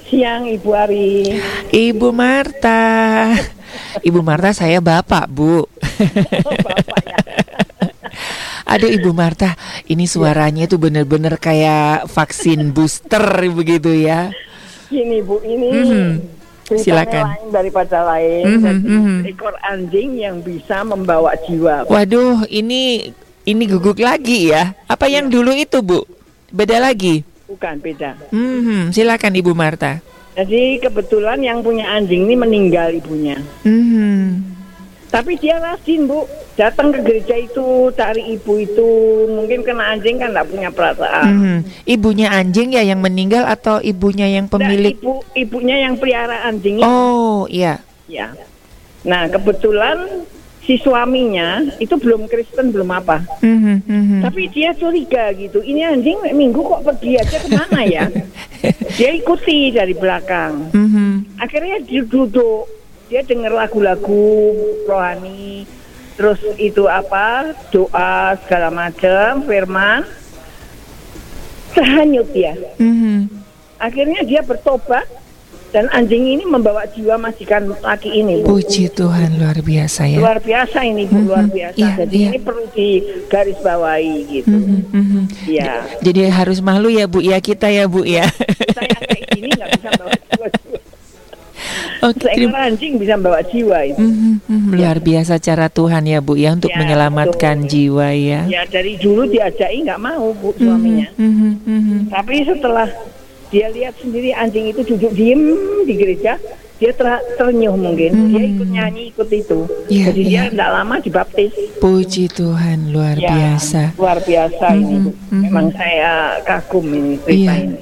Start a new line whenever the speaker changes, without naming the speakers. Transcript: siang Ibu Ari.
Ibu Marta. Ibu Marta saya bapak,
Oh,
Bu.
Bapak ya.
Aduh Ibu Marta, ini suaranya tuh bener-bener kayak vaksin booster begitu ya.
Gini Bu, ini
Mhm.
ceritanya
Silakan.
lain daripada lain.
Mhm,
Jadi,
mhm.
Ekor anjing yang bisa membawa jiwa.
Waduh, ini ini guguk lagi ya. Apa yang dulu itu, Bu? Beda lagi.
Bukan beda.
Hmm, silakan Ibu Marta.
Jadi kebetulan yang punya anjing ini meninggal ibunya.
Hmm.
Tapi dia rajin Bu, datang ke gereja itu cari ibu itu. Mungkin kena anjing kan nggak punya perasaan.
Mhm. Ibunya anjing ya yang meninggal atau ibunya yang
Nah,
Mm-hmm. pemilik?
ibu ibunya yang pelihara anjingnya
Oh, iya.
Ya. Nah, kebetulan si suaminya itu belum Kristen, belum apa.
Mhm, mhm.
Tapi dia curiga gitu. Ini anjing minggu kok pergi aja kemana ya? dia ikuti dari belakang.
Mhm.
Akhirnya dia duduk. Dia dengar lagu-lagu rohani. Terus itu apa? Doa segala macam, firman. Terhanyut dia.
Mhm.
Akhirnya dia bertobat. Dan anjing ini membawa jiwa majikan laki ini. Bu.
Puji Tuhan luar biasa ya.
luar biasa ini Bu,
Mhm,
luar biasa
iya,
jadi
iya.
ini perlu digarisbawahi gitu
Mhm, mhm.
ya
Jadi harus malu ya Bu ya kita ya Bu ya.
saya kayak gini nggak bisa bawa jiwa
Oke,
seekor
terima-
anjing bisa bawa jiwa itu
Mhm, mhm. luar biasa cara Tuhan ya Bu ya untuk
Ya,
menyelamatkan
betul.
jiwa ya.
ya dari dulu diajaki nggak mau Bu
Mhm,
suaminya
mhm, mhm.
tapi setelah dia lihat sendiri anjing itu duduk diem di gereja dia ter- ternyuh mungkin dia ikut nyanyi ikut itu
Hmm. Iya,
jadi
iya.
dia nggak lama dibaptis
Puji Tuhan luar
Ya,
biasa.
luar biasa ini Bu.
Mhm, mhm.
memang saya kagum ini cerita
Iya.
ini